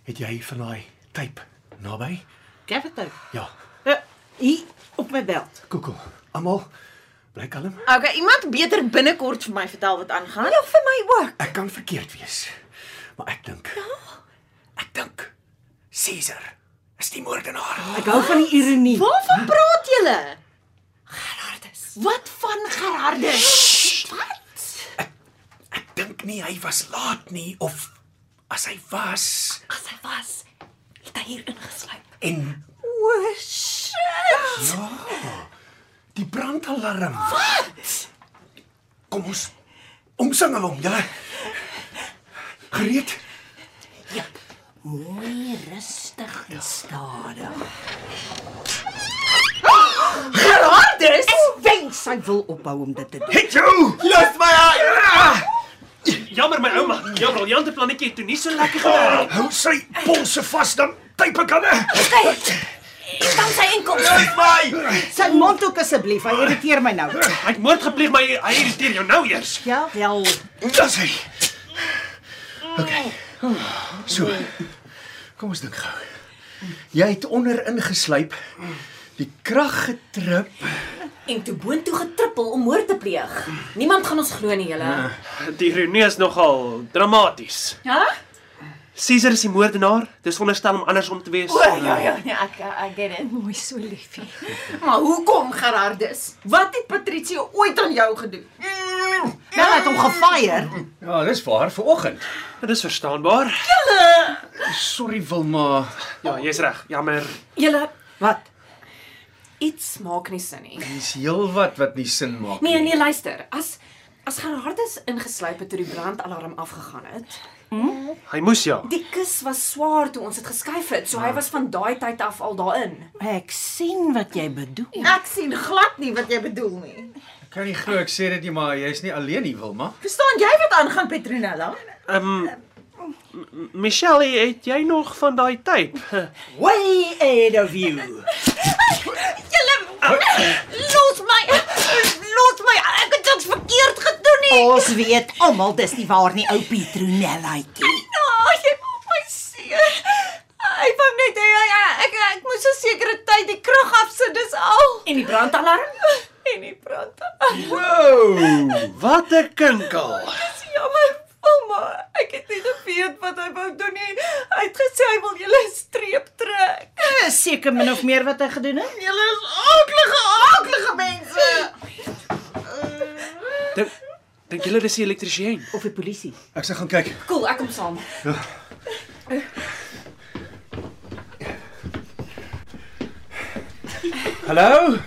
Speaker 2: het jy van daai tape naby?
Speaker 15: Gavet uit.
Speaker 2: Ja.
Speaker 15: Uh, hier op my beld.
Speaker 2: Google. Almal Bly kalm.
Speaker 3: Okay, iemand beter binnekort vir my vertel wat aangaan. Ja, vir my ook.
Speaker 2: Ek kan verkeerd wees. Maar ek dink. Ja. Ek dink Caesar is die moordenaar.
Speaker 16: Ek hou van die ironie.
Speaker 3: Waarvan praat julle?
Speaker 2: Gerardus.
Speaker 3: Wat van Gerardus?
Speaker 2: Wat? Ek, ek dink nie hy was laat nie of as hy was
Speaker 6: As hy was, het hy hier ingesluip.
Speaker 2: en
Speaker 6: O, shit.
Speaker 2: ja, die brandalarm. Wat? Kom ons omsingel hom, julle. Gereed?
Speaker 16: Ja. Mooi rustig en stadig.
Speaker 17: Gerardus,
Speaker 16: ek wens hy wil ophou om dit te doen.
Speaker 2: Het jou! Ja.
Speaker 18: Los my uit.
Speaker 8: Jammer my ouma, jou briljante plannetjie het toe nie so lekker gewerk nie.
Speaker 2: Hou sy polse vas dan type kanne.
Speaker 6: Ek staan sy enkel.
Speaker 2: Los my!
Speaker 16: Sy mond ook asseblief, hy irriteer my nou.
Speaker 8: Hy het moord gepleeg, maar hy irriteer jou nou eers.
Speaker 16: Ja, wel.
Speaker 2: Dis hy. OK. So. Kom ons dink gou. Jy het onder ingeslyp. Die krag getrip.
Speaker 6: En toe boontoe getrippel om moord te pleeg. Niemand gaan ons glo nie, julle.
Speaker 16: Nee.
Speaker 8: Die ironie is nogal dramaties.
Speaker 6: Ja?
Speaker 8: Caesar is die moordenaar, dis veronderstel om andersom te wees.
Speaker 3: O ja ja, nee, ek ek get dit. Mooi so liefie. Maar hoekom Gerardus? Wat het Patricio ooit aan jou gedoen?
Speaker 16: Nou het hom gefire.
Speaker 2: Ja, dis waar vanoggend.
Speaker 8: Dit is verstaanbaar.
Speaker 2: Sorry Wilma.
Speaker 8: Ja, jy's reg. Jammer.
Speaker 6: Julle,
Speaker 16: Wat?
Speaker 6: iets maak nie sin nie.
Speaker 2: Dis heelwat wat nie sin maak
Speaker 6: Nee, nee, luister. As as Gerardus ingesluip het toe die brandalarm afgegaan het,
Speaker 8: Hy moes ja.
Speaker 6: die kus was swaar toe ons dit geskuif het,
Speaker 19: Ja.
Speaker 6: so hy was van daai tyd af al daarin.
Speaker 16: Ek sien wat jy bedoel.
Speaker 3: Ek sien glad nie wat jy bedoel nie.
Speaker 2: Ek kan nie glo ek sê dit nie, maar jy's nie alleen nie, Wilma.
Speaker 3: Verstaan jy wat aangaan Petronella?
Speaker 8: Ehm M- Michelle, het jy nog van daai tyd?
Speaker 16: Way ahead of you.
Speaker 19: Julle los my. Los my. Ek het dit verkeerd gedoen nie.
Speaker 16: Ons weet almal dis nie waar nie, ou Petronellaitjie.
Speaker 19: Ja, jy maak my seer. Ek wou net hê hy- ek ek moes 'n sekere tyd die krag afsit, dis al.
Speaker 6: En die brandalarm?
Speaker 19: En die brand.
Speaker 2: Wow! Wat 'n kinkel.
Speaker 19: Dis jammer, Wilma. Ek het nie geweet wat hy wou doen nie. Hy het gesê hy wil julle 'n streep trek.
Speaker 16: Dis seker min of meer wat hy gedoen het.
Speaker 3: Julle is aaklige, aaklige mense.
Speaker 8: Dink dink julle dis die elektriesien?
Speaker 16: Of die polisie.
Speaker 2: Ek sê gaan kyk.
Speaker 6: Cool, ek kom saam.
Speaker 2: Hallo?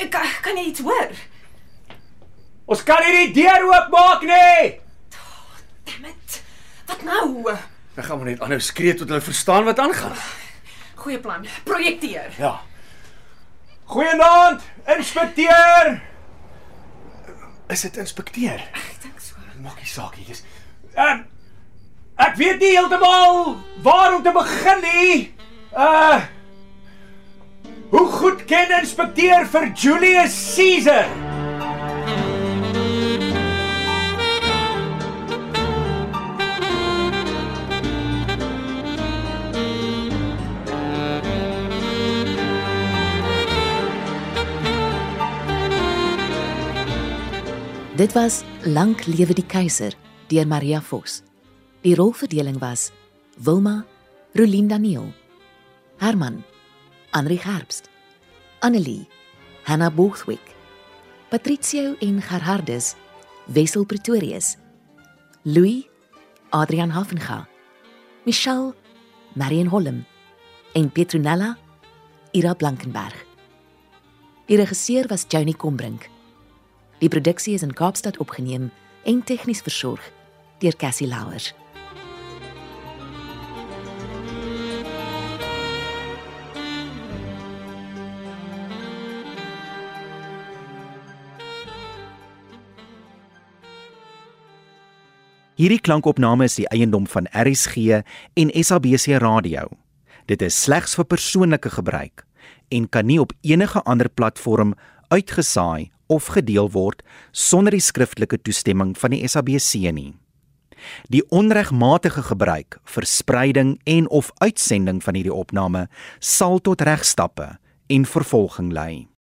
Speaker 6: Ek Eh, kan jy iets hoor?
Speaker 2: Ons kan hierdie deur oopmaak nie.
Speaker 6: Damn it. Wat nou?
Speaker 2: Ek gaan maar net aanhou skree tot hulle verstaan wat aangaan.
Speaker 6: Goeie plan. Projekteer.
Speaker 2: Ja. Goeienaand, inspekteur. Is dit inspekteur?
Speaker 6: Ek dink so.
Speaker 2: Maak nie saak nie, dis Ehm ek weet nie heeltemal waar om te begin nie. Uh Hoe goed ken inspekteur vir Julius Caesar?
Speaker 20: Dit was Lank lewe die keiser deur Maria Vos. Die rolverdeling was Wilma, Rolien Daniel, Herman, Andri Gerbst, Annelie, Hannah Bothwick, Patricio en Gerhardus, Wessel Pretorius, Louis, Adrian Hafenga, Michelle, Marion Holm en Petronella Ira Blankenberg. Die regisseur was Johnny Combrink. Die produksie is in Kaapstad opgeneem en tegnies versorg deur Cassie Louers.
Speaker 21: Hierdie klankopname is die eiendom van RSG en SABC Radio. Dit is slegs vir persoonlike gebruik en kan nie op enige ander platform uitgesaai of gedeel word sonder die skriftelike toestemming van die SABC nie. Die onregmatige gebruik, verspreiding en of uitsending van hierdie opname sal tot regstappe en vervolging lei.